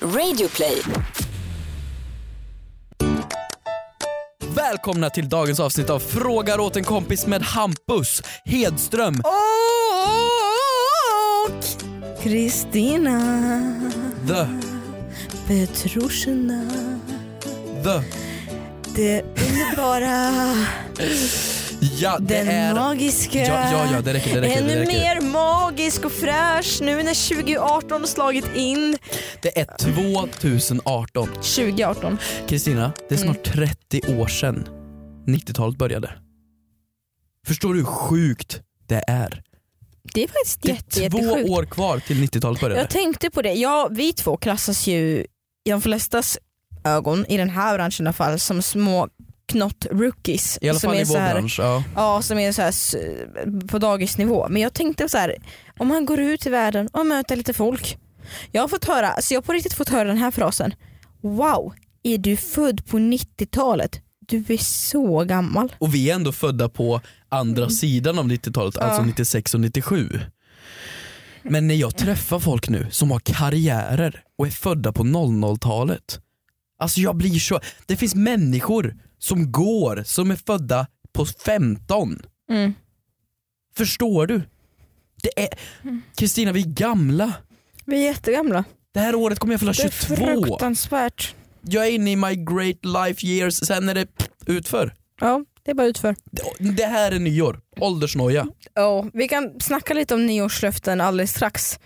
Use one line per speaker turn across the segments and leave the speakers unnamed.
Radioplay.
Välkomna till dagens avsnitt av Frågar åt en kompis med Hampus Hedström.
Och Kristina
The,
Petrushina
the,
Det underbara,
ja det
den
är...
magiska
Ja, ja, ja, det räcker, det räcker,
Ännu
det räcker.
mer magisk och fräsch nu när 2018 slagit in
Det är 2018.
2018
Kristina, det är snart
Mm.
30 år sedan 90-talet började. Förstår du hur sjukt det är?
Det är faktiskt
Det
jätte,
är två
jättesjukt.
år kvar till 90-talet började.
Jag tänkte på det, ja vi två klassas ju i de flestas ögon, i den här branschen i alla fall, som små knott rookies.
I alla
som
fall
är
i
så
vår
här,
bransch. Ja.
Ja, som är så här, s- på dagisnivå. Men jag tänkte så här, om man går ut i världen och möter lite folk. Jag har fått höra, så jag har på riktigt fått höra den här frasen. Wow, är du född på 90-talet? Du är så gammal.
Och vi är ändå födda på
Mm.
andra sidan av 90-talet, alltså 96 och 97. Men när jag träffar folk nu som har karriärer och är födda på 00-talet. Alltså jag blir så, det finns människor som går, som är födda på 15.
Mm.
Förstår du? Det är,
Mm.
Kristina vi är gamla.
Vi är jättegamla.
Det här året kommer jag fylla
Det är
22.
fruktansvärt.
Jag är inne i my great life years, sen är det pff, utför.
Ja, det är bara utför.
Det- Det här är nyår, åldersnoja.
Ja, vi kan snacka lite om nyårslöften alldeles strax.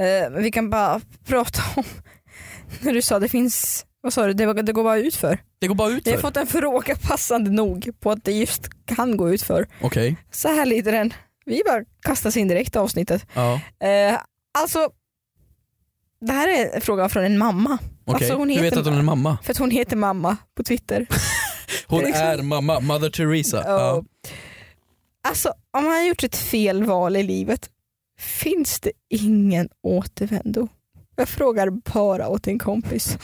Eh, men vi kan bara prata om när du sa det finns, vad sa du, det, det går bara ut för.
Det går bara utför.
Jag har fått en fråga passande nog på att det just kan gå ut för.
Okej.
Så här lyder den. Vi bara kastas in direkt i avsnittet.
Ja,
Eh, alltså, det här är en fråga från en mamma.
okej.
Alltså, hon
du vet
heter-
att hon är mamma?
För att hon heter mamma på Twitter.
Hon
Liksom.
är mamma, Mother Teresa. Ja.
Och- Alltså om man har gjort ett fel val i livet, finns det ingen återvändo? Jag frågar bara åt en kompis.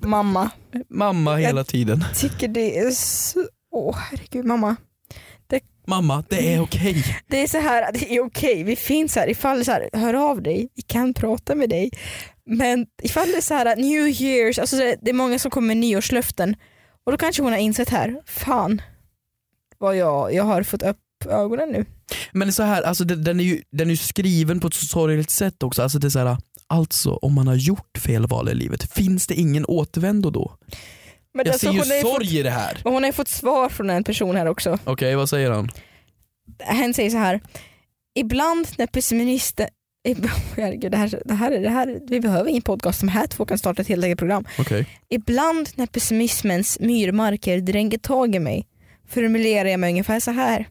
Mamma.
Mamma hela tiden.
Tycker det är så... Åh herregud mamma.
Mamma, det
Mm.
är okej.
Det är så här, det är okej, vi finns här ifall så här, hör av dig, vi kan prata med dig. Men ifall det är så här new years, alltså det det är många som kommer med nyårslöften och då kanske hon har insett här, fan vad jag, jag har fått upp ögonen nu.
Men så här, alltså, den, den, är ju, den är ju skriven på ett så sorgligt sätt också. Alltså, det är så här, alltså om man har gjort fel val i livet, finns det ingen återvändo då?
Men
Jag
alltså,
ser ju
hon, har ju fått,
sorg i det här.
men hon har ju fått svar från en person här också.
Okej, vad säger han?
Hen säger så här, ibland när pessimisten Ib- Herregud, det här, det här, är- det här, vi behöver ingen podcast, de här två kan starta ett helt eget program.
Okej.
Ibland när pessimismens myrmarker dränker tag i mig formulerar jag mig ungefär så här.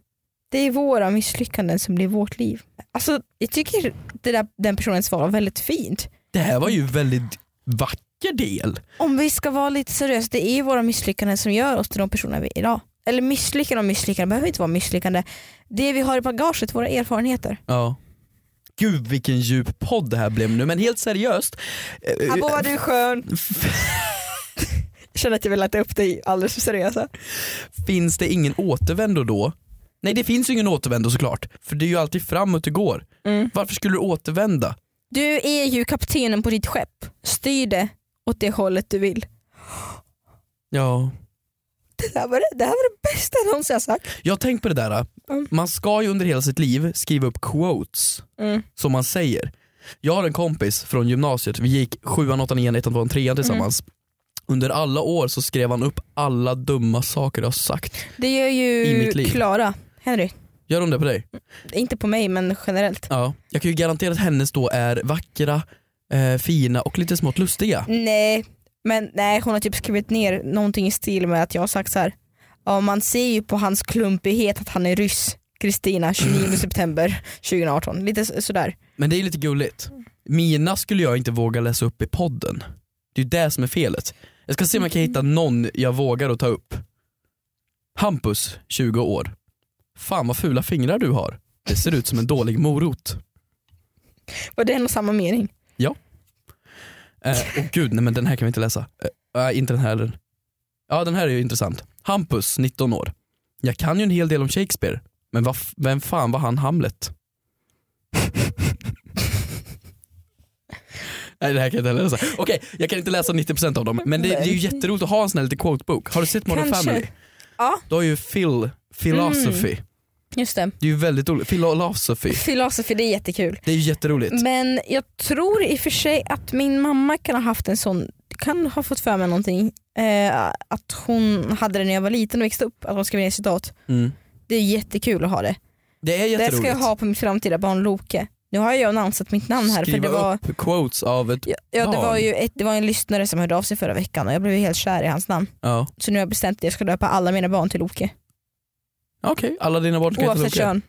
Det är våra misslyckanden som blir vårt liv. Alltså, jag tycker det där, den personens svar var väldigt fint.
Det här var ju väldigt vacker del.
Om vi ska vara lite seriösa, det är ju våra misslyckanden som gör oss till de personer vi är idag. Eller misslyckande och misslyckande behöver inte vara misslyckande. Det vi har i bagaget, våra erfarenheter.
Ja. Gud vilken djup podd det här blev nu, men helt seriöst. eh,
Abbo vad du är skön. Jag känner att jag vill lätta upp dig alldeles för seriösa.
finns det ingen återvändo då? Nej det finns ju ingen återvändo såklart, för det är ju alltid framåt det går. Varför skulle du återvända?
Mm. Du är ju kaptenen på ditt skepp. Styr det åt det hållet du vill.
Ja.
Det här var det, det, här var det bästa jag någonsin har sagt.
Jag har tänkt på det där,
Mm.
man ska ju under hela sitt liv skriva upp quotes
Mm.
som man säger. Jag har en kompis från gymnasiet, vi gick sjuan, åttan, nian, ettan, tvåan, trean tillsammans. Under alla år så skrev han upp alla dumma saker jag har sagt.
Det gör
I
ju
mitt liv.
Klara, Henry.
Gör de det på dig?
Inte på mig men generellt.
Ja. Jag kan ju garantera att hennes då är vackra, eh, fina och lite smått lustiga.
Nej, men nej hon har typ skrivit ner någonting i stil med att jag har sagt så här. Ja, man ser ju på hans klumpighet att han är ryss. Kristina 29 september 2018. Lite så- sådär.
Men det är ju lite gulligt. Mina skulle jag inte våga läsa upp i podden. Det är ju det som är felet. Jag ska se om jag kan hitta någon jag vågar att ta upp. Hampus, 20 år. Fan vad fula fingrar du har. Det ser ut som en dålig morot.
Var det en och samma mening?
Eh, åh gud, nej men den här kan vi inte läsa. Eh, nej, inte den här heller. Ja den här är ju intressant. Hampus, 19 år. Jag kan ju en hel del om Shakespeare, men vad f- vem fan var han Hamlet? Nej det här kan jag inte heller läsa. Okej, jag kan inte läsa 90% av dem men det, det är ju jätteroligt att ha en sån här liten quotebook. Har du sett Modern
Kanske. Mm.
Family?
Ja.
Du har ju Phil, Philosophy.
Just det.
Det är ju väldigt roligt. Philosophy.
Philosophy, det är jättekul.
Det är ju jätteroligt.
Men jag tror i och för sig att min mamma kan ha haft en sån, kan ha fått för mig någonting. Eh, att hon hade det när jag var liten och växte upp, att hon skrev ner citat.
Mm.
Det är jättekul att ha det.
Det är
Det
jätteroligt.
ska jag ha på mitt framtida barn Loke. Nu har jag annonsat mitt namn här
Skriva
för det var,
upp quotes av ett...
ja, ja, det
barn.
var ju ett, det var en lyssnare som hörde av sig förra veckan och jag blev ju helt kär i hans namn.
Ja.
Så nu har jag bestämt att jag ska döpa alla mina barn till Loke.
Okej, alla dina barn ska heta
Oavsett
Loke.
kön.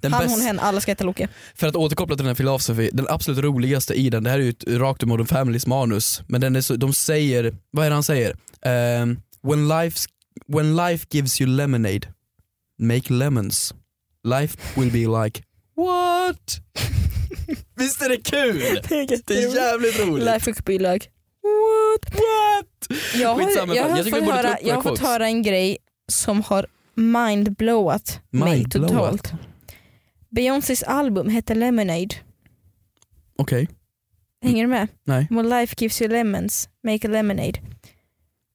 Den
Han,
bäst-
hon, hen, alla ska heta Loke.
För att återkoppla till den här Philosophy, den absolut roligaste i den, det här är ju ett, rakt ur Modern Families manus, men den är så, de säger, vad är det han säger? Ehm, when, life, when life gives you lemonade, make lemons. Life will be like, what? Visst är det kul?
Det är
Det är jävligt roligt.
Life could be
What?
like
What?
Jag har,
Skitsamma,
jag
jag
har,
tycker vi
fått,
borde ta
höra,
upp våra
jag har fått
quotes.
höra en grej som har mindblowat mig
Mindblowat?
totalt. Beyoncés album hette Lemonade.
Okej,
Hänger du med?
nej.
When life gives you lemons, make a lemonade.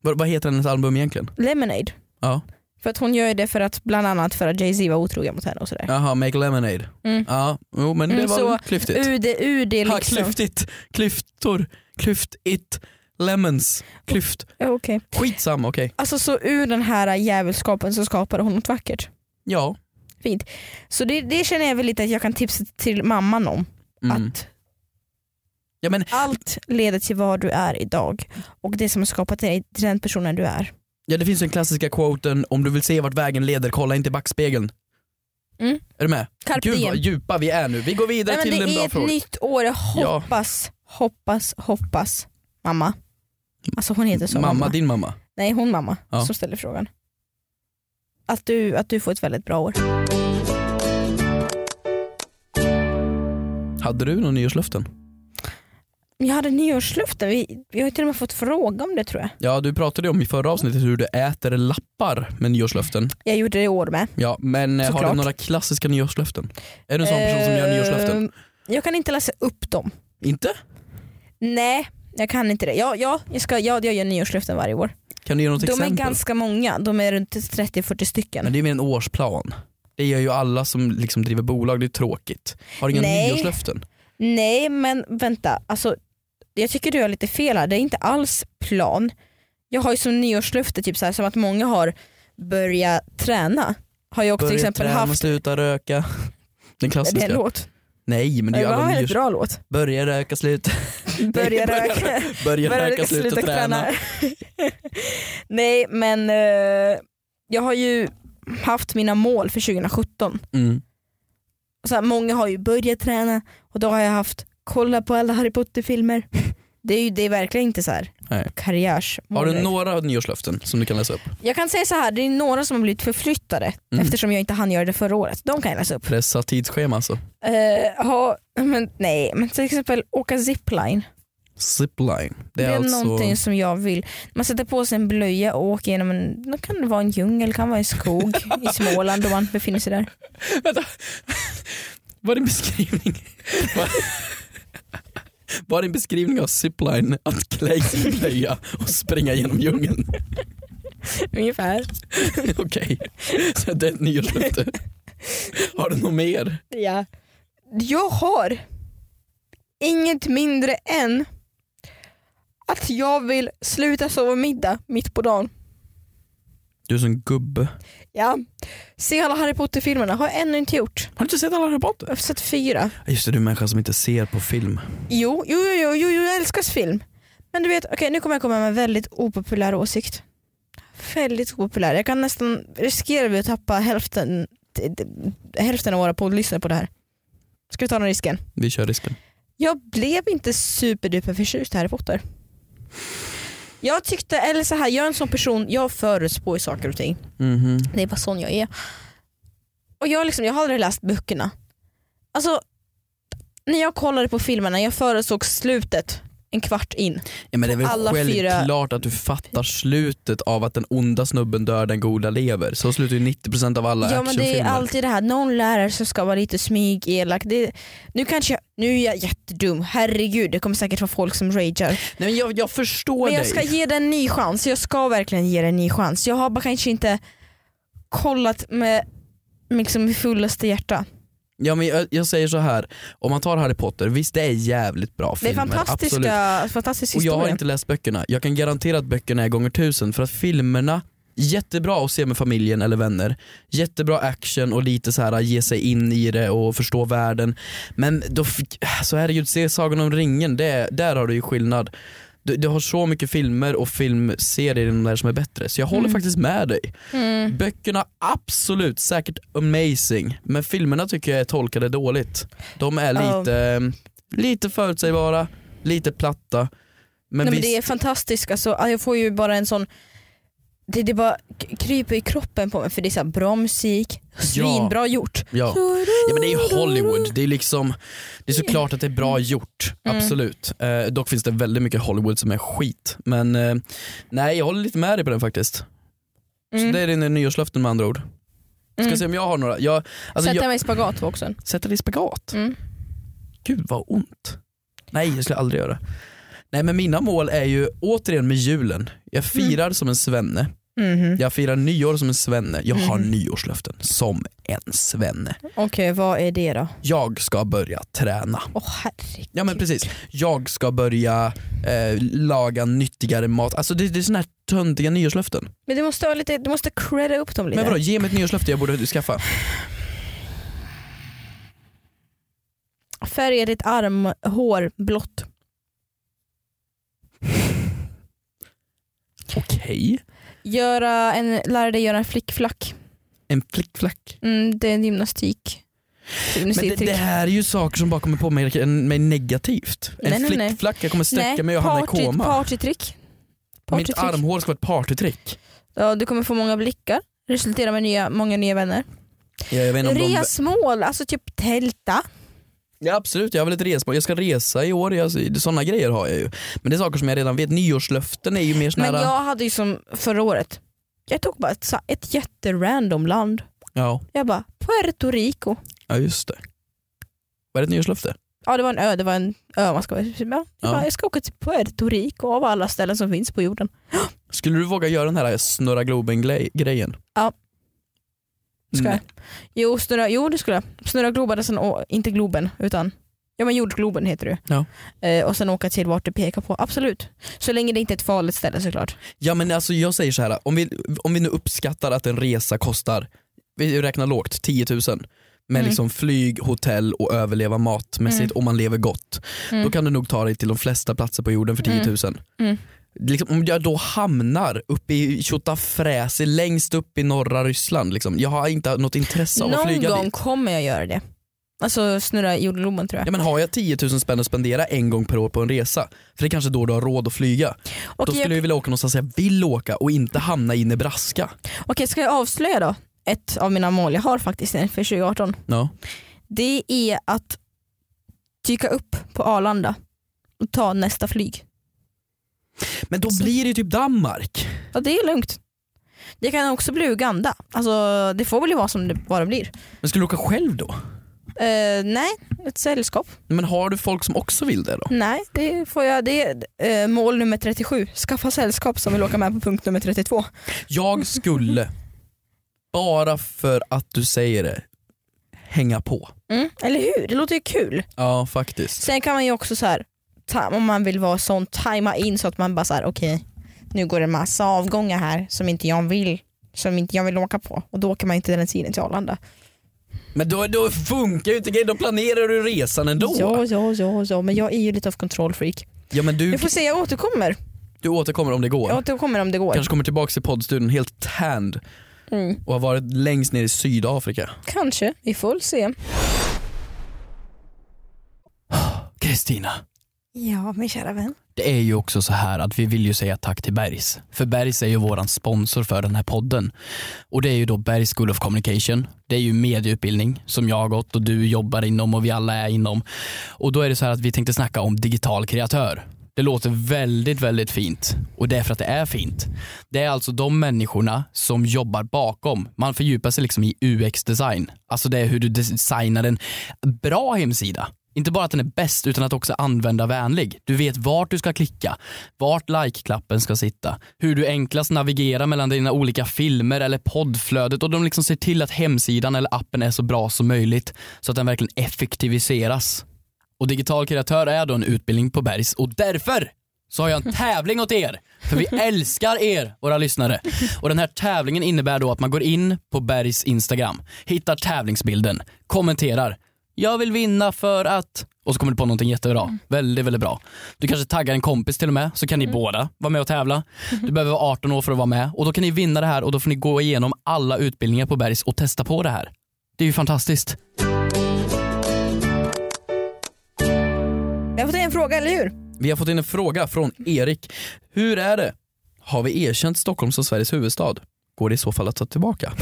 Vad, vad heter hennes album egentligen?
Lemonade.
Ja.
För att hon gör ju det för att bland annat för att Jay-Z var otrogen mot henne och sådär.
Jaha, Make Lemonade.
Mm.
Ja, jo men det
Mm,
var
så-
väl klyftigt.
Ur det, ur det
Ha,
liksom.
klyftigt, klyftor, klyftigt, lemons, klyft.
Ja, okej.
Skitsamma, okej.
Alltså så ur den här djävulskapen så skapade hon något vackert.
Ja.
Så det, det känner jag väl lite att jag kan tipsa till mamman om.
Mm.
Att
ja men,
Allt leder till vad du är idag och det som har skapat dig till den personen du är.
ja, det finns den klassiska quoten om du vill se vart vägen leder, kolla inte i backspegeln.
Mm.
Är du med?
Carpe
Gud
diem.
vad djupa vi är nu. Vi går vidare
Nej, men
till en
det är
bra
ett
fråga.
nytt år, jag
Ja.
hoppas, hoppas, hoppas mamma. Alltså hon heter så.
mamma, din mamma.
Nej hon mamma
Ja.
som ställer frågan. Att du, att du får ett väldigt bra år.
Hade du någon nyårslöften?
Jag hade nyårslöften, vi, vi har ju till och med fått fråga om det tror jag.
Ja du pratade ju om i förra avsnittet hur du äter lappar med nyårslöften.
Jag gjorde det i år med.
Ja, men eh, har
Såklart.
du några klassiska nyårslöften? Är du en sån person som gör
Eh,
nyårslöften?
Jag kan inte läsa upp dem.
Inte?
Nej, jag kan inte det. Ja, ja, jag, ska, ja jag gör nyårslöften varje år.
Kan du ge något
De
exempel?
är ganska många, de är runt 30-40 stycken.
Men det är mer en årsplan. Det gör ju alla som liksom driver bolag, det är tråkigt. Har du inga
Nej.
nyårslöften?
Nej men vänta, alltså, jag tycker du har lite fel här. Det är inte alls plan. Jag har ju som nyårslöfte, typ så här, som att många har börja träna. Har jag också till exempel
träna,
haft,
sluta röka. Den
är det en
klassiska.
låt?
Nej men det är
Det
ju alla
var en
nyårs...
bra låt.
Börja röka, sluta.
Börja röka,
Börja,
börja
röka, sluta, träna.
Nej men eh, jag har ju haft mina mål för 2017.
Mm.
Så här, många har ju börjat träna och då har jag haft kolla på alla Harry Potter filmer. Det är ju det är verkligen inte så här
Nej.
karriärsmål.
Har du
direkt.
några nyårslöften som du kan läsa upp?
Jag kan säga så här, det är några som har blivit förflyttade
Mm.
eftersom jag inte hann göra det förra året. De kan jag läsa upp.
Pressa tidsschema alltså.
Eh, ha, men, nej, men till exempel åka zipline.
Zipline.
Det är,
alltså...
någonting som jag vill. Man sätter på sig en blöja och åker genom en, då kan det vara en djungel, kan vara en skog i Småland om man befinner sig där.
Var din beskrivning? Var, var din beskrivning av zipline att klä i sin blöja och springa genom djungeln?
Ungefär.
Okej, så det är ett nyårslöfte. Har du något mer?
Ja. Jag har inget mindre än att jag vill sluta sova middag mitt på dagen.
Du är som en gubbe.
Ja. Se alla Harry Potter-filmerna, har jag ännu inte gjort.
Har du inte sett alla Harry Potter?
Jag har sett fyra.
Just det, du är en människa som inte ser på film.
Jo, jo, jo, jo, jo, jo jag älskar film. Men du vet, okej nu kommer jag komma med en väldigt opopulär åsikt. Väldigt opopulär. Jag kan nästan riskera vi att tappa hälften, d- d- hälften av våra poddlyssnare på det här. Ska vi ta den risken?
Vi kör risken.
Jag blev inte superduper förtjust i Harry Potter. Jag tyckte, eller så här, jag är en sån person, jag förutspår ju saker och ting.
Mhm.
Det är bara sån jag är. Och jag, liksom, jag har aldrig läst böckerna. Alltså, när jag kollade på filmerna, jag förutsåg slutet en kvart in.
Ja, men det är väl
alla
självklart att du fattar slutet av att den onda snubben dör, den goda lever. Så slutar ju 90% av alla
Ja men
actionfilmer.
det är alltid det här, någon lärare som ska vara lite smyg, elak. Det, nu kanske jag, nu är jag jättedum, herregud det kommer säkert vara folk som ragear.
Nej, men jag, jag förstår
Men jag
dig.
ska ge den en ny chans, jag ska verkligen ge den en ny chans. Jag har bara kanske inte kollat med liksom med fullaste hjärta.
Ja, men jag, jag säger så här, om man tar Harry Potter, visst det är jävligt bra
Det är
filmer. absolut.
fantastiska, fantastisk
Och jag har
historia.
inte läst böckerna. Jag kan garantera att böckerna är gånger tusen för att filmerna, jättebra att se med familjen eller vänner. Jättebra action och lite så här ge sig in i det och förstå världen. Men då, f- så herregud, se Sagan om ringen, det, där har du ju skillnad. Du, du har så mycket filmer och filmserier inom det här som är bättre, så jag håller
Mm.
faktiskt med dig.
Mm.
Böckerna, absolut, säkert amazing, men filmerna tycker jag är tolkade dåligt. De är
Ja.
lite, lite förutsägbara, lite platta. Men,
Nej, men
visst,
det är fantastiskt, alltså, jag får ju bara en sån det, det bara k- kryper i kroppen på mig för det är så här bra musik, svinbra gjort.
Ja. ja men det är ju Hollywood, det är liksom Det är såklart att det är bra gjort,
Mm.
absolut. Eh, dock finns det väldigt mycket Hollywood som är skit. Men eh, nej jag håller lite med dig på den faktiskt.
Mm.
Så det är dina nyårslöften med andra ord. Ska
Mm.
se om jag har några. Jag, alltså,
Sätta
jag,
mig i spagat var också en.
sätta dig i spagat?
Mm.
Gud vad ont. Nej jag skulle aldrig göra det. Nej men mina mål är ju återigen med julen.
Mm.
Jag firar som en svenne.
Mhm.
Jag firar nyår som en svenne. Jag har
Mm.
nyårslöften som en svenne.
Okej, vad är det då?
Jag ska börja träna.
Åh herregud.
Ja men precis, jag ska börja eh, laga nyttigare mat. Alltså det, det är såna här töntiga nyårslöften.
Men du måste, ha lite, du måste credda upp dem lite.
Men vadå, ge mig ett nyårslöfte jag borde skaffa.
Färga ditt armhår blått.
Okej.
Göra en, lära dig göra en flickflack.
En flickflack.
Mm, det är en gymnastik. Typ
Men det,
Gymnastiktrick.
det här är ju saker som bara kommer på mig, mig negativt. En
Nej, nej, nej.
flickflack, jag kommer sträcka mig och hamna i
party,
koma.
partytrick.
Mitt
Partytrick.
armhår ska vara ett partytrick.
Ja, du kommer få många blickar. Resultera med nya, många nya vänner.
Ja, jag vet inte om de...
Resmål, alltså typ tälta.
ja, absolut, jag har väl ett resmål. Jag ska resa i år, jag, sådana grejer har jag ju. Men det är saker som jag redan vet. Nyårslöften är ju mer såna
Men
här...
jag hade ju som förra året, jag tog bara ett, så- ett jätterandom land.
Ja.
Jag bara, Puerto Rico.
ja, just det. Vad är det ett nyårslöfte?
Ja det var en ö, det var en ö man ska vara jag, bara,
Ja.
jag ska åka till Puerto Rico av alla ställen som finns på jorden.
Skulle du våga göra den här eh, snurra Globen-grejen?
Ja. Ska
Nej.
jag? Jo, snurra, jo det skulle jag. Snurra Globen, och sen, å- inte Globen utan ja, men jordgloben heter det ju.
Ja.
eh, Och sen åka till vart du pekar på, absolut. Så länge det inte är ett farligt ställe såklart.
Ja men alltså jag säger så här. om vi, om vi nu uppskattar att en resa kostar, vi räknar lågt, 10 000 med
Mm.
liksom flyg, hotell och överleva matmässigt
Mm.
och man lever gott.
Mm.
Då kan du nog ta dig till de flesta platser på jorden för 10 000.
Mm.
Liksom, om jag då hamnar uppe i Tjotafräsi längst upp i norra Ryssland, liksom. jag har inte något intresse av att
Någon
flyga
gång
dit.
kommer jag göra det. Alltså snurra jordgloben tror jag.
Ja, men har jag 10 000 spänn att spendera en gång per år på en resa, för det är kanske då du har råd att flyga.
Okej,
då skulle jag vilja åka någonstans jag vill åka och inte hamna i Nebraska.
jag, okej, ska jag avslöja då? Ett av mina mål jag har faktiskt för 2018.
Ja.
Det är att dyka upp på Arlanda och ta nästa flyg.
Men då
Så-
blir det ju typ Danmark.
Ja det är lugnt. Det kan också bli Uganda. Alltså, det får väl ju vara som det, vad det blir.
Men skulle du åka själv då?
Eh, nej, ett sällskap.
Men har du folk som också vill det då?
Nej, det får jag. Det är eh, mål nummer 37. Skaffa sällskap som vill åka med på punkt nummer 32.
Jag skulle, bara för att du säger det, hänga på.
Mm, eller hur? Det låter ju kul.
Ja faktiskt.
Sen kan man ju också så här, ta, om man vill vara sån, tajma in så att man bara så här, okej, nu går det en massa avgångar här som inte jag vill som inte jag vill åka på och då åker man inte den tiden till Arlanda.
Men då, då funkar ju inte grejen, då planerar du resan ändå.
Ja, ja, ja, ja, men jag är ju lite av kontrollfreak.
Ja, men du,
Jag får se, jag återkommer.
du återkommer om det går.
Jag återkommer om det går.
Kanske kommer tillbaka till poddstudion helt tanned
Mm.
och har varit längst ner i Sydafrika.
Kanske, vi får väl se.
Kristina,
Ja min kära vän.
Det är ju också så här att vi vill ju säga tack till Bergs. För Bergs är ju våran sponsor för den här podden. Och det är ju då Bergs School of Communication. Det är ju medieutbildning som jag har gått och du jobbar inom och vi alla är inom. Och då är det så här att vi tänkte snacka om digital kreatör. Det låter väldigt, väldigt fint och det är för att det är fint. Det är alltså de människorna som jobbar bakom. Man fördjupar sig liksom i UX-design. Alltså det är hur du designar en bra hemsida. Inte bara att den är bäst utan att också användarvänlig. Du vet vart du ska klicka, vart like-klappen ska sitta, hur du enklast navigerar mellan dina olika filmer eller poddflödet och de liksom ser till att hemsidan eller appen är så bra som möjligt så att den verkligen effektiviseras. Och digital kreatör är då en utbildning på Bergs och därför så har jag en tävling åt er. För vi älskar er, våra lyssnare. Och den här tävlingen innebär då att man går in på Bergs Instagram, hittar tävlingsbilden, kommenterar. Jag vill vinna för att... Och så kommer du på någonting jättebra. Väldigt, väldigt bra. Du kanske taggar en kompis till och med, så kan ni båda vara med och tävla. Du behöver vara 18 år för att vara med och då kan ni vinna det här och då får ni gå igenom alla utbildningar på Bergs och testa på det här. Det är ju fantastiskt.
Jag har fått en fråga, eller hur?
Vi har fått in en fråga från Erik. Hur är det? Har vi erkänt Stockholm som Sveriges huvudstad? Går det i så fall att ta tillbaka?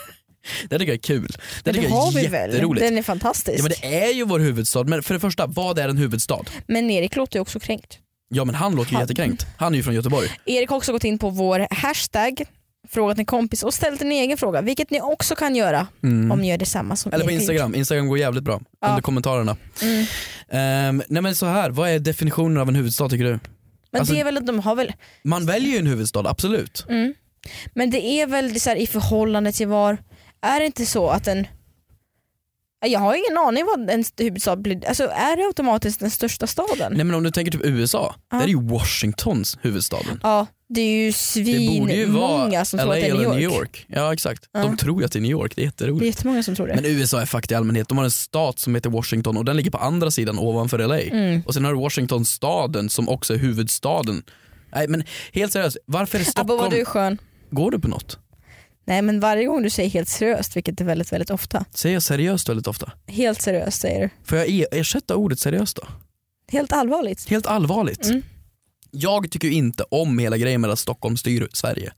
det tycker jag är kul. Det,
Men
tycker
har
jag
vi
är
väl?
jätteroligt.
Den är fantastisk.
Ja, men
men,
det är ju vår huvudstad, men för det första, vad är en huvudstad?
Erik låter ju också kränkt.
Ja men han låter ju
Han-
jättekränkt, han är ju från Göteborg.
Erik har också gått in på vår hashtag, frågat en kompis och ställt en egen fråga, vilket ni också kan göra om ni gör detsamma som
Mm. Eller på
Erik har gjort.
Instagram, Instagram går jävligt bra
Ja.
under kommentarerna.
Mm.
Ehm, nej men så här, vad är definitionen av en huvudstad tycker du?
Men
Alltså-
det är väl att de har väl
Man väljer ju en huvudstad, absolut.
Mm. Men det är väl det så här, i förhållande till var, är det inte så att en jag har ingen aning vad en st- huvudstad blir. Alltså, är det automatiskt den största staden?
Nej men om du tänker typ USA,
Mm. Ja.
där är ju Washingtons huvudstaden.
Ja, det är ju
Det borde ju
svinmånga
vara
som
LA
tror att det är
eller
New York.
Ja exakt,
Ja.
de tror ju att det är New York, det är
Det är
jätteroligt.
jättemånga som tror det.
Men USA är faktiskt i allmänhet, de har en stat som heter Washington och den ligger på andra sidan ovanför LA.
mm.
Och sen har du Washington-staden som också är huvudstaden. Nej men helt seriöst, varför är
Abbo
Stockholm...
vad du är skön.
Går du på något?
Nej men varje gång du säger helt seriöst, vilket är väldigt väldigt ofta.
Säger jag seriöst väldigt ofta?
Helt seriöst säger du.
Får jag e- ersätta ordet seriöst då?
Helt allvarligt.
Helt allvarligt.
Mm.
Jag tycker ju inte om hela grejen med att Stockholm styr Sverige.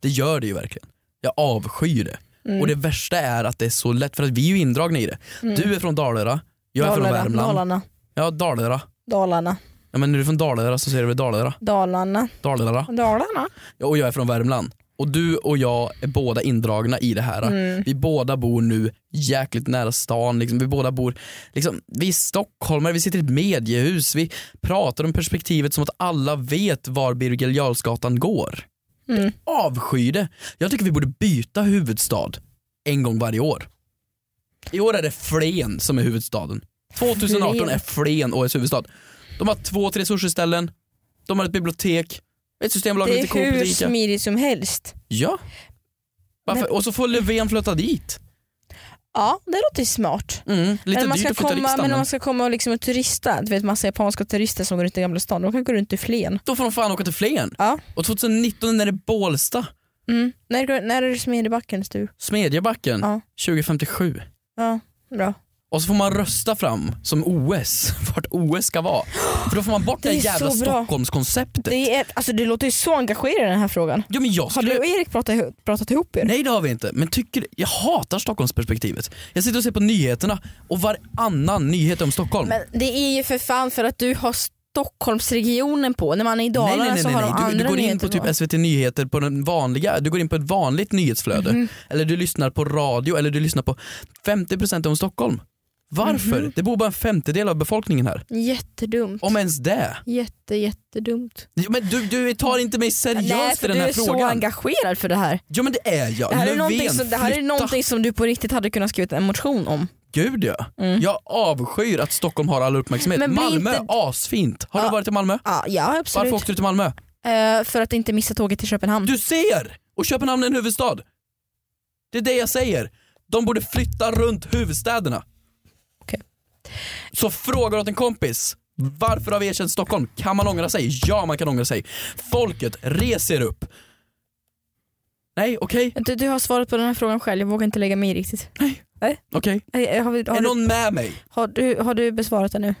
Det gör det ju verkligen. Jag avskyr det.
Mm.
Och det värsta är att det är så lätt, för att vi är ju indragna i det.
Mm.
Du är från Dalarna, jag är från
Dalarna,
Värmland.
Dalarna,
Ja, Dalarna.
Dalarna,
Ja, men är du från Dalarna så säger du väl Dalarna.
Dalarna,
Dalarna.
Dalarna.
Ja, Och jag är från Värmland. Och du och jag är båda indragna i det här.
Mm.
Vi båda bor nu jäkligt nära stan, liksom. vi båda bor, liksom, vi är stockholmare, vi sitter i ett mediehus, vi pratar om perspektivet som att alla vet var Birger Jarlsgatan går.
Mm.
Avsky det! Jag tycker vi borde byta huvudstad en gång varje år. I år är det Flen som är huvudstaden. 2018
Flen.
är Flen årets huvudstad. De har två, tre resursställen, de har ett bibliotek, ett systembolag,
Det
lite
är hur
Coop-butik.
smidigt som helst.
Ja. Varför? Och så får Löfven flytta dit.
Ja, det låter ju smart.
Mm, lite
men, man
dyrt
ska
att flytta
komma,
riksdagen.
men om man ska komma och, liksom och turista, du vet massa japanska turister som går runt i Gamla stan, de kan gå runt i Flen.
Då får de fan åka till Flen.
Ja.
Och 2019 när det är Bålsta,
Mm. När, går- när är det Smedjebackens tur?
Smedjebacken,
Ja.
2057.
Ja, bra.
Och så får man rösta fram som OS, vart OS ska vara. För då får man bort det,
Det är
här jävla
så bra.
Stockholmskonceptet.
Det, är, alltså, det låter ju så engagerande den här frågan.
Ja, men jag
Har
skulle...
du och Erik pratat, ihop- pratat ihop er?
Nej det har vi inte, men tycker... jag hatar Stockholmsperspektivet. Jag sitter och ser på nyheterna och varannan nyhet är om Stockholm.
Men det är ju för fan för att du har Stockholmsregionen på. När man är i
Nej,
Dalarna
nej, nej,
så
nej,
har
nej.
de
Du,
andra
du går in på
nyheter
typ SVT Nyheter på den vanliga, du går in på ett vanligt nyhetsflöde.
Mhm.
Eller du lyssnar på radio eller du lyssnar på 50% om Stockholm. Varför?
Mhm.
Det bor bara en femtedel av befolkningen här.
Jättedumt.
Om ens det.
Jätte, jättedumt.
Men du, du tar inte mig seriöst
Nej,
i
för
den
du
här
är så
frågan.
engagerad för det här.
ja men det är jag.
Det här, är
Löfven,
någonting, som, det här är
flytta.
någonting som du på riktigt hade kunnat skriva en motion om.
Gud ja.
Mm.
Jag avskyr att Stockholm har all uppmärksamhet.
Men blir
Malmö,
inte-
asfint. Har du
Ja.
varit i Malmö?
Ja, ja absolut.
Varför åkte du till Malmö?
Eh, för att inte missa tåget till Köpenhamn.
Du ser! Och Köpenhamn är en huvudstad. Det är det jag säger. De borde flytta runt huvudstäderna.
Okej.
Så frågar åt en kompis. Varför har vi erkänt Stockholm? Kan man ångra sig? Ja, man kan ångra sig. Folket, reser upp. Nej, okej,
Du, du har svarat på den här frågan själv, jag vågar inte lägga mig i riktigt.
okej.
Eh, eh, Har, vi- har,
Är
du,
någon med mig?
har, du, har du besvarat den nu?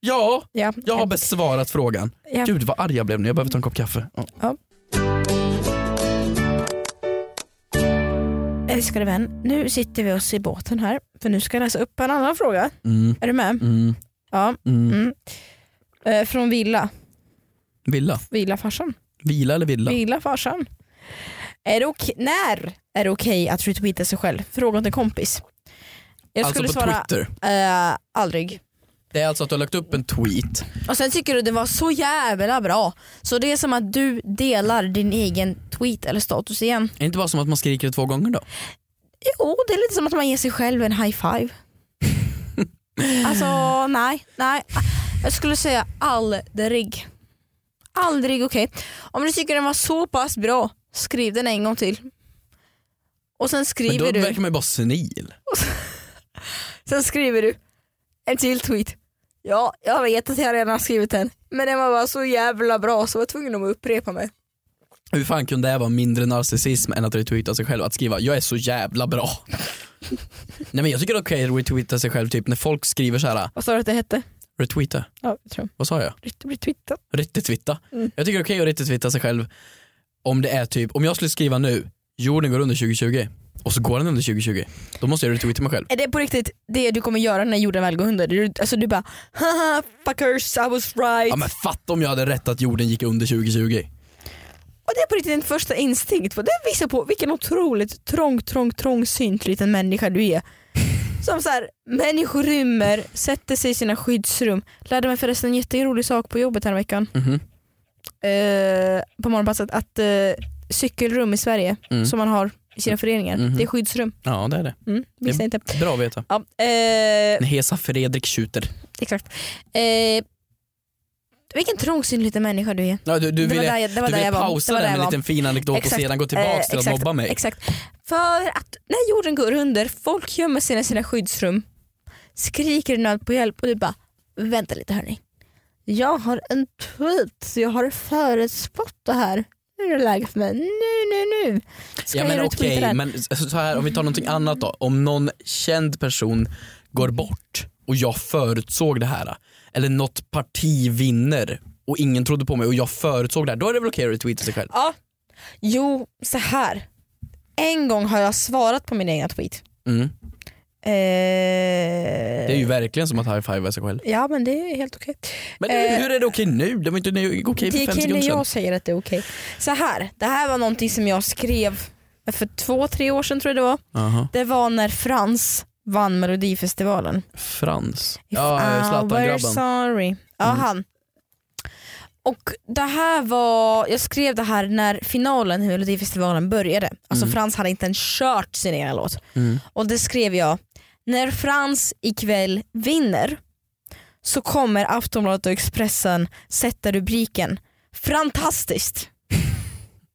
Ja,
Ja.
jag har besvarat frågan.
ja.
Gud vad arg jag blev nu, jag behöver ta en kopp kaffe. Ja.
Älskade vän, nu sitter vi oss i båten här för nu ska jag läsa upp en annan fråga.
Mm,
Är du med?
mm,
Ja.
mm.
Mm. Eh, från Villa.
Villa.
Vila farsan.
Vila eller villa?
Vila farsan. Är det okej- när är det okej att retweeta sig själv? Fråga åt en kompis. Jag
alltså
skulle
på
svara
Twitter.
eh, aldrig.
Det är alltså att du har lagt upp en tweet.
Och sen tycker du det var så jävla bra. Så det är som att du delar din egen tweet eller status igen.
Är det inte bara som att man skriker två gånger då?
Jo, det är lite som att man ger sig själv en high five. alltså nej, nej. Jag skulle säga aldrig. Aldrig okej. Om du tycker den var så pass bra, skriv den en gång till. Och sen
Men då
skriver du,
verkar man ju bara senil.
sen skriver du en till tweet. Ja, jag vet att jag redan har skrivit den, men den var bara så jävla bra så jag var tvungen att upprepa mig.
Hur fan kunde det här vara mindre narcissism än att retweeta sig själv? Att skriva “jag är så jävla bra”. Nej men jag tycker det är okej att retweeta sig själv typ när folk skriver så här
Vad sa du att det hette?
“retweeta”,
Ja, jag tror
vad sa jag?
Twitter.
Rettetwitta.
Mm.
Jag tycker det är okej att rettetwitta sig själv om det är typ, om jag skulle skriva nu “jorden går under 2020” och så går den under 2020. Då måste jag retweeta mig själv.
Är det på riktigt det du kommer göra när jorden väl går under? Du, alltså du bara haha fuckers I was right.
Ja men fatta om jag hade rätt att jorden gick under 2020.
Och det är på riktigt din första instinkt. För det visar på vilken otroligt trång, trång, trångsynt liten människa du är. Som så här, människor rymmer, sätter sig i sina skyddsrum. Lärde mig förresten en jätterolig sak på jobbet här veckan.
Mhm.
Eh, på morgonpasset att eh, cykelrum i Sverige
Mm.
som man har i sina föreningar,
Mhm.
det är skyddsrum.
Ja det är det.
Mm, visste inte.
Bra att veta.
Ja, eh,
En Hesa Fredrik Schuter.
Exakt. Eh, vilken trångsynt liten människa du är.
Ja, du, du
Det var
ville,
där jag- det var
du
där
ville
jag var.
pausa
Det var
den
där
med
jag
en
var.
liten fin anekdot och
Exakt.
sedan gå tillbaks
Eh,
till att
exakt,
mobba mig.
Exakt. För att när jorden går under, folk gömmer sig i sina skyddsrum, skriker i nöd på hjälp och du bara “vänta lite hörni, jag har en tweet, så jag har förutspått det här. Nu är det läge för mig. Nu, nu, nu. Ska
Ja
jag
men
göra
okej,
retweetar här?"
men s- så här, om vi tar
Mm.
någonting annat då. Om någon känd person går bort och jag förutsåg det här. Eller något parti vinner och ingen trodde på mig och jag förutsåg det här. Då är det väl okej att retweeta sig själv?
Ja. Jo, så här. En gång har jag svarat på min egna tweet.
Mm.
Eh...
Det är ju verkligen som att high-fivea sig själv.
Ja men det är helt okej.
Men
Eh,
hur är det okej nu? Det var inte okej
Det
typ för
är
fem
killen
sekunder sedan.
jag säger att det är okej. Så här, det här var någonting som jag skrev för två, tre år sedan tror jag det var.
Aha.
Det var när Frans vann melodifestivalen.
Frans.
If
Ja, eh,
I were
Zlatan-grabben.
sorry. Ja,
Mm.
han. Och det här var, jag skrev det här när finalen i melodifestivalen började. Alltså
Mm.
Frans hade inte ens kört sin egen låt.
Mm.
Och det skrev jag, när Frans ikväll vinner så kommer Aftonbladet och Expressen sätta rubriken “Fantastiskt!”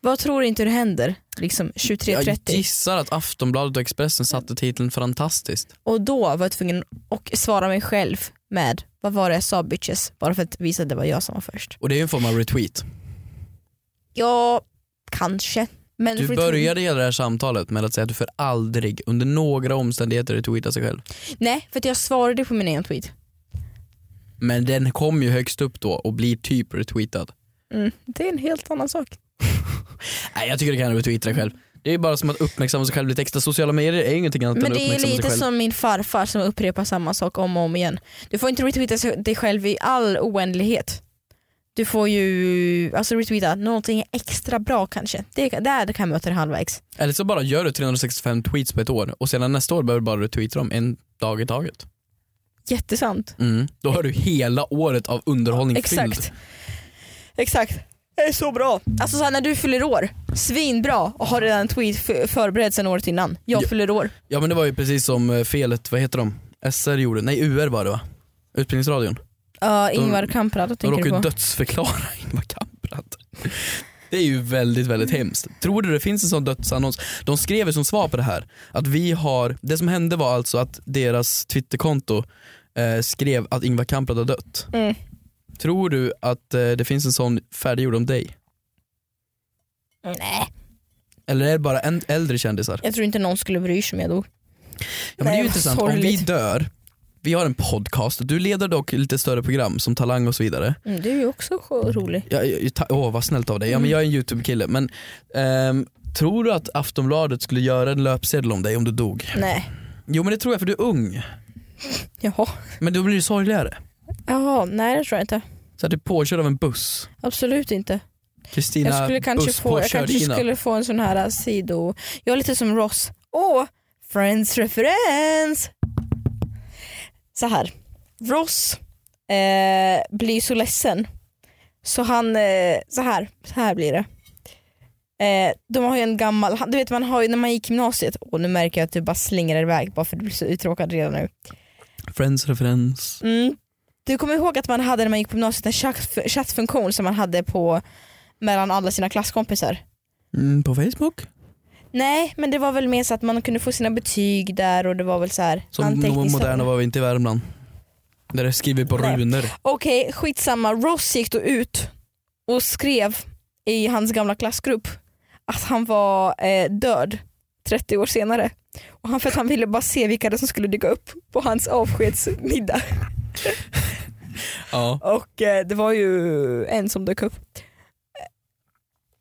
Vad tror du inte det händer liksom 23.30?
Jag gissar att Aftonbladet och Expressen satte titeln fantastiskt.
och då var jag tvungen att svara mig själv med “Vad var det jag sa bitches?” bara för att visa att det var jag som var först.
Och det är ju en form av retweet.
Ja, kanske. Men
Du började hela det här samtalet med att säga att du för aldrig under några omständigheter retweetar sig själv.
Nej, för att jag svarade på min egen tweet.
Men den kom ju högst upp då och blir typ retweetad.
Mm, det är en helt annan sak.
Nej jag tycker du kan retweeta dig själv. Det är ju bara som att uppmärksamma sig själv lite extra. Sociala medier är ju ingenting annat
Men
än att
det är
uppmärksamma sig
lite
själv.
som min farfar som upprepar samma sak om och om igen. Du får inte retweeta sig- dig själv i all oändlighet. Du får ju alltså retweeta någonting extra bra kanske. Det, där kan jag möta det halvvägs.
Eller så bara gör du 365 tweets på ett år och sedan nästa år behöver du bara retweeta dem en dag i taget.
Jättesant.
Mm. Då har du hela året av underhållning fylld.
Exakt. Exakt. Det är så bra. Alltså så här, när du fyller år, svinbra och har redan en tweet för- förberedd sedan året innan. Jag
Ja.
fyller år.
Ja men det var ju precis som eh, felet, vad heter de? SR gjorde, nej UR var det va? Utbildningsradion.
Uh, Ingvar Kamprad, vad
De
tänker
råkade
du på?
ju dödsförklara Ingvar Kamprad. Det är ju väldigt, väldigt
Mm.
hemskt. Tror du det finns en sån dödsannons? De skrev ju som svar på det här att vi har, det som hände var alltså att deras Twitterkonto eh, skrev att Ingvar Kamprad har dött.
Mm.
Tror du att eh, det finns en sån färdiggjord om dig?
Nej,
Eller är det bara en, äldre kändisar?
jag tror inte någon skulle bry sig om jag dog.
Ja, men det är
Nej,
ju
vad
intressant, om vi
sorgligt.
dör, vi har en podcast, du leder dock lite större program som Talang och så vidare.
Mm, du är ju också rolig.
Jag, jag, ta, åh vad snällt av dig,
Mm.
ja, men jag är en YouTube-kille men ehm, tror du att Aftonbladet skulle göra en löpsedel om dig om du dog?
Nej.
Jo men det tror jag för du är ung,
Jaha.
men då blir det sorgligare.
Jaha, nej det tror jag inte.
Så här, typ påkörd av en buss.
Absolut inte.
Kristina
Jag skulle kanske, få, jag kanske
busspåkörd innan.
skulle få en sån här äh, sido... Jag är lite som Ross. Åh, Friends-referens! Så här. Ross eh, blir så ledsen. Så han, eh, så här, så här blir det. Eh, de har ju en gammal, han- du vet man har ju när man gick gymnasiet, och nu märker jag att du bara slänger iväg bara för att du blir så uttråkad redan nu.
Friends referens.
Mm. Du kommer ihåg att man hade när man gick på gymnasiet en chatt- chattfunktion som man hade på mellan alla sina klasskompisar?
Mm, på Facebook?
Nej men det var väl mer så att man kunde få sina betyg där och det var väl så här
Som de moderna var vi inte i Värmland. Där det skriver på
Nej.
runor.
Okej skitsamma, Ross gick då ut och skrev i hans gamla klassgrupp att han var eh, död 30 år senare. Och han, för att han ville bara se vilka det som skulle dyka upp på hans avskedsmiddag.
Ja.
Och eh, det var ju en som dök upp.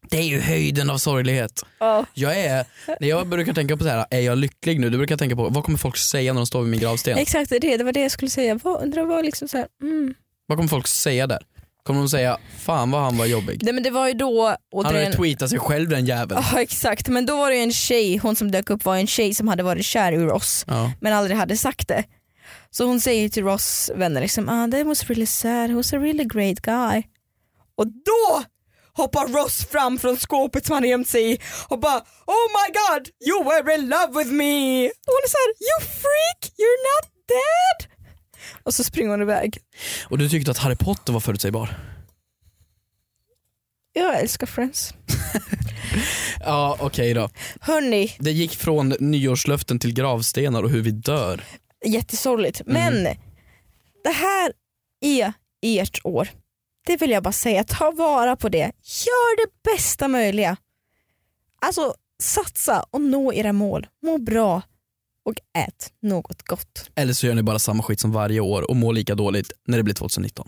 Det är ju höjden av sorglighet.
Ja.
Jag är, när jag brukar tänka på så här, är jag lycklig nu? Du brukar tänka på, vad kommer folk säga när de står vid min gravsten?
Exakt det, det var det jag skulle säga. Vad, undrar vad liksom så här, mm.
Vad kommer folk säga där? Kommer de säga, fan vad han var jobbig?
Nej men det var ju
Han
då
har ju
återigen
tweetat sig själv den jäveln.
Ja exakt, men då var det ju en tjej, hon som dök upp var en tjej som hade varit kär i Ross
Ja.
men aldrig hade sagt det. Så hon säger till Ross vänner liksom ah, that was really sad, he was a really great guy. Och då hoppar Ross fram från skåpet som han gömt sig i och bara oh my god you were in love with me. Och hon är såhär you freak, you're not dead. Och så springer hon iväg.
Och du tyckte att Harry Potter var förutsägbar?
Jag älskar Friends.
Ja okej då.
Hörni,
Det gick från nyårslöften till gravstenar och hur vi dör.
jättesorgligt. Men det här är ert år. Det vill jag bara säga. Ta vara på det. Gör det bästa möjliga. Alltså satsa och nå era mål. Må bra och ät något gott.
Eller så gör ni bara samma skit som varje år och mår lika dåligt när det blir 2019.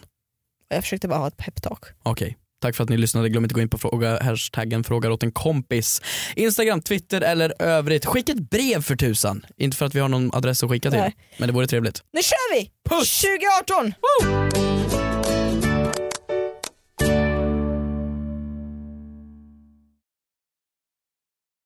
Och jag försökte bara ha ett peptalk.
Okej. Tack för att ni lyssnade. Glöm inte gå in på fråga, hashtaggen frågar åt en kompis. Instagram, Twitter eller övrigt. Skicka ett brev för tusan. Inte för att vi har någon adress att skicka till.
Nej.
Men det vore trevligt.
Nu kör vi!
Puss!
2018!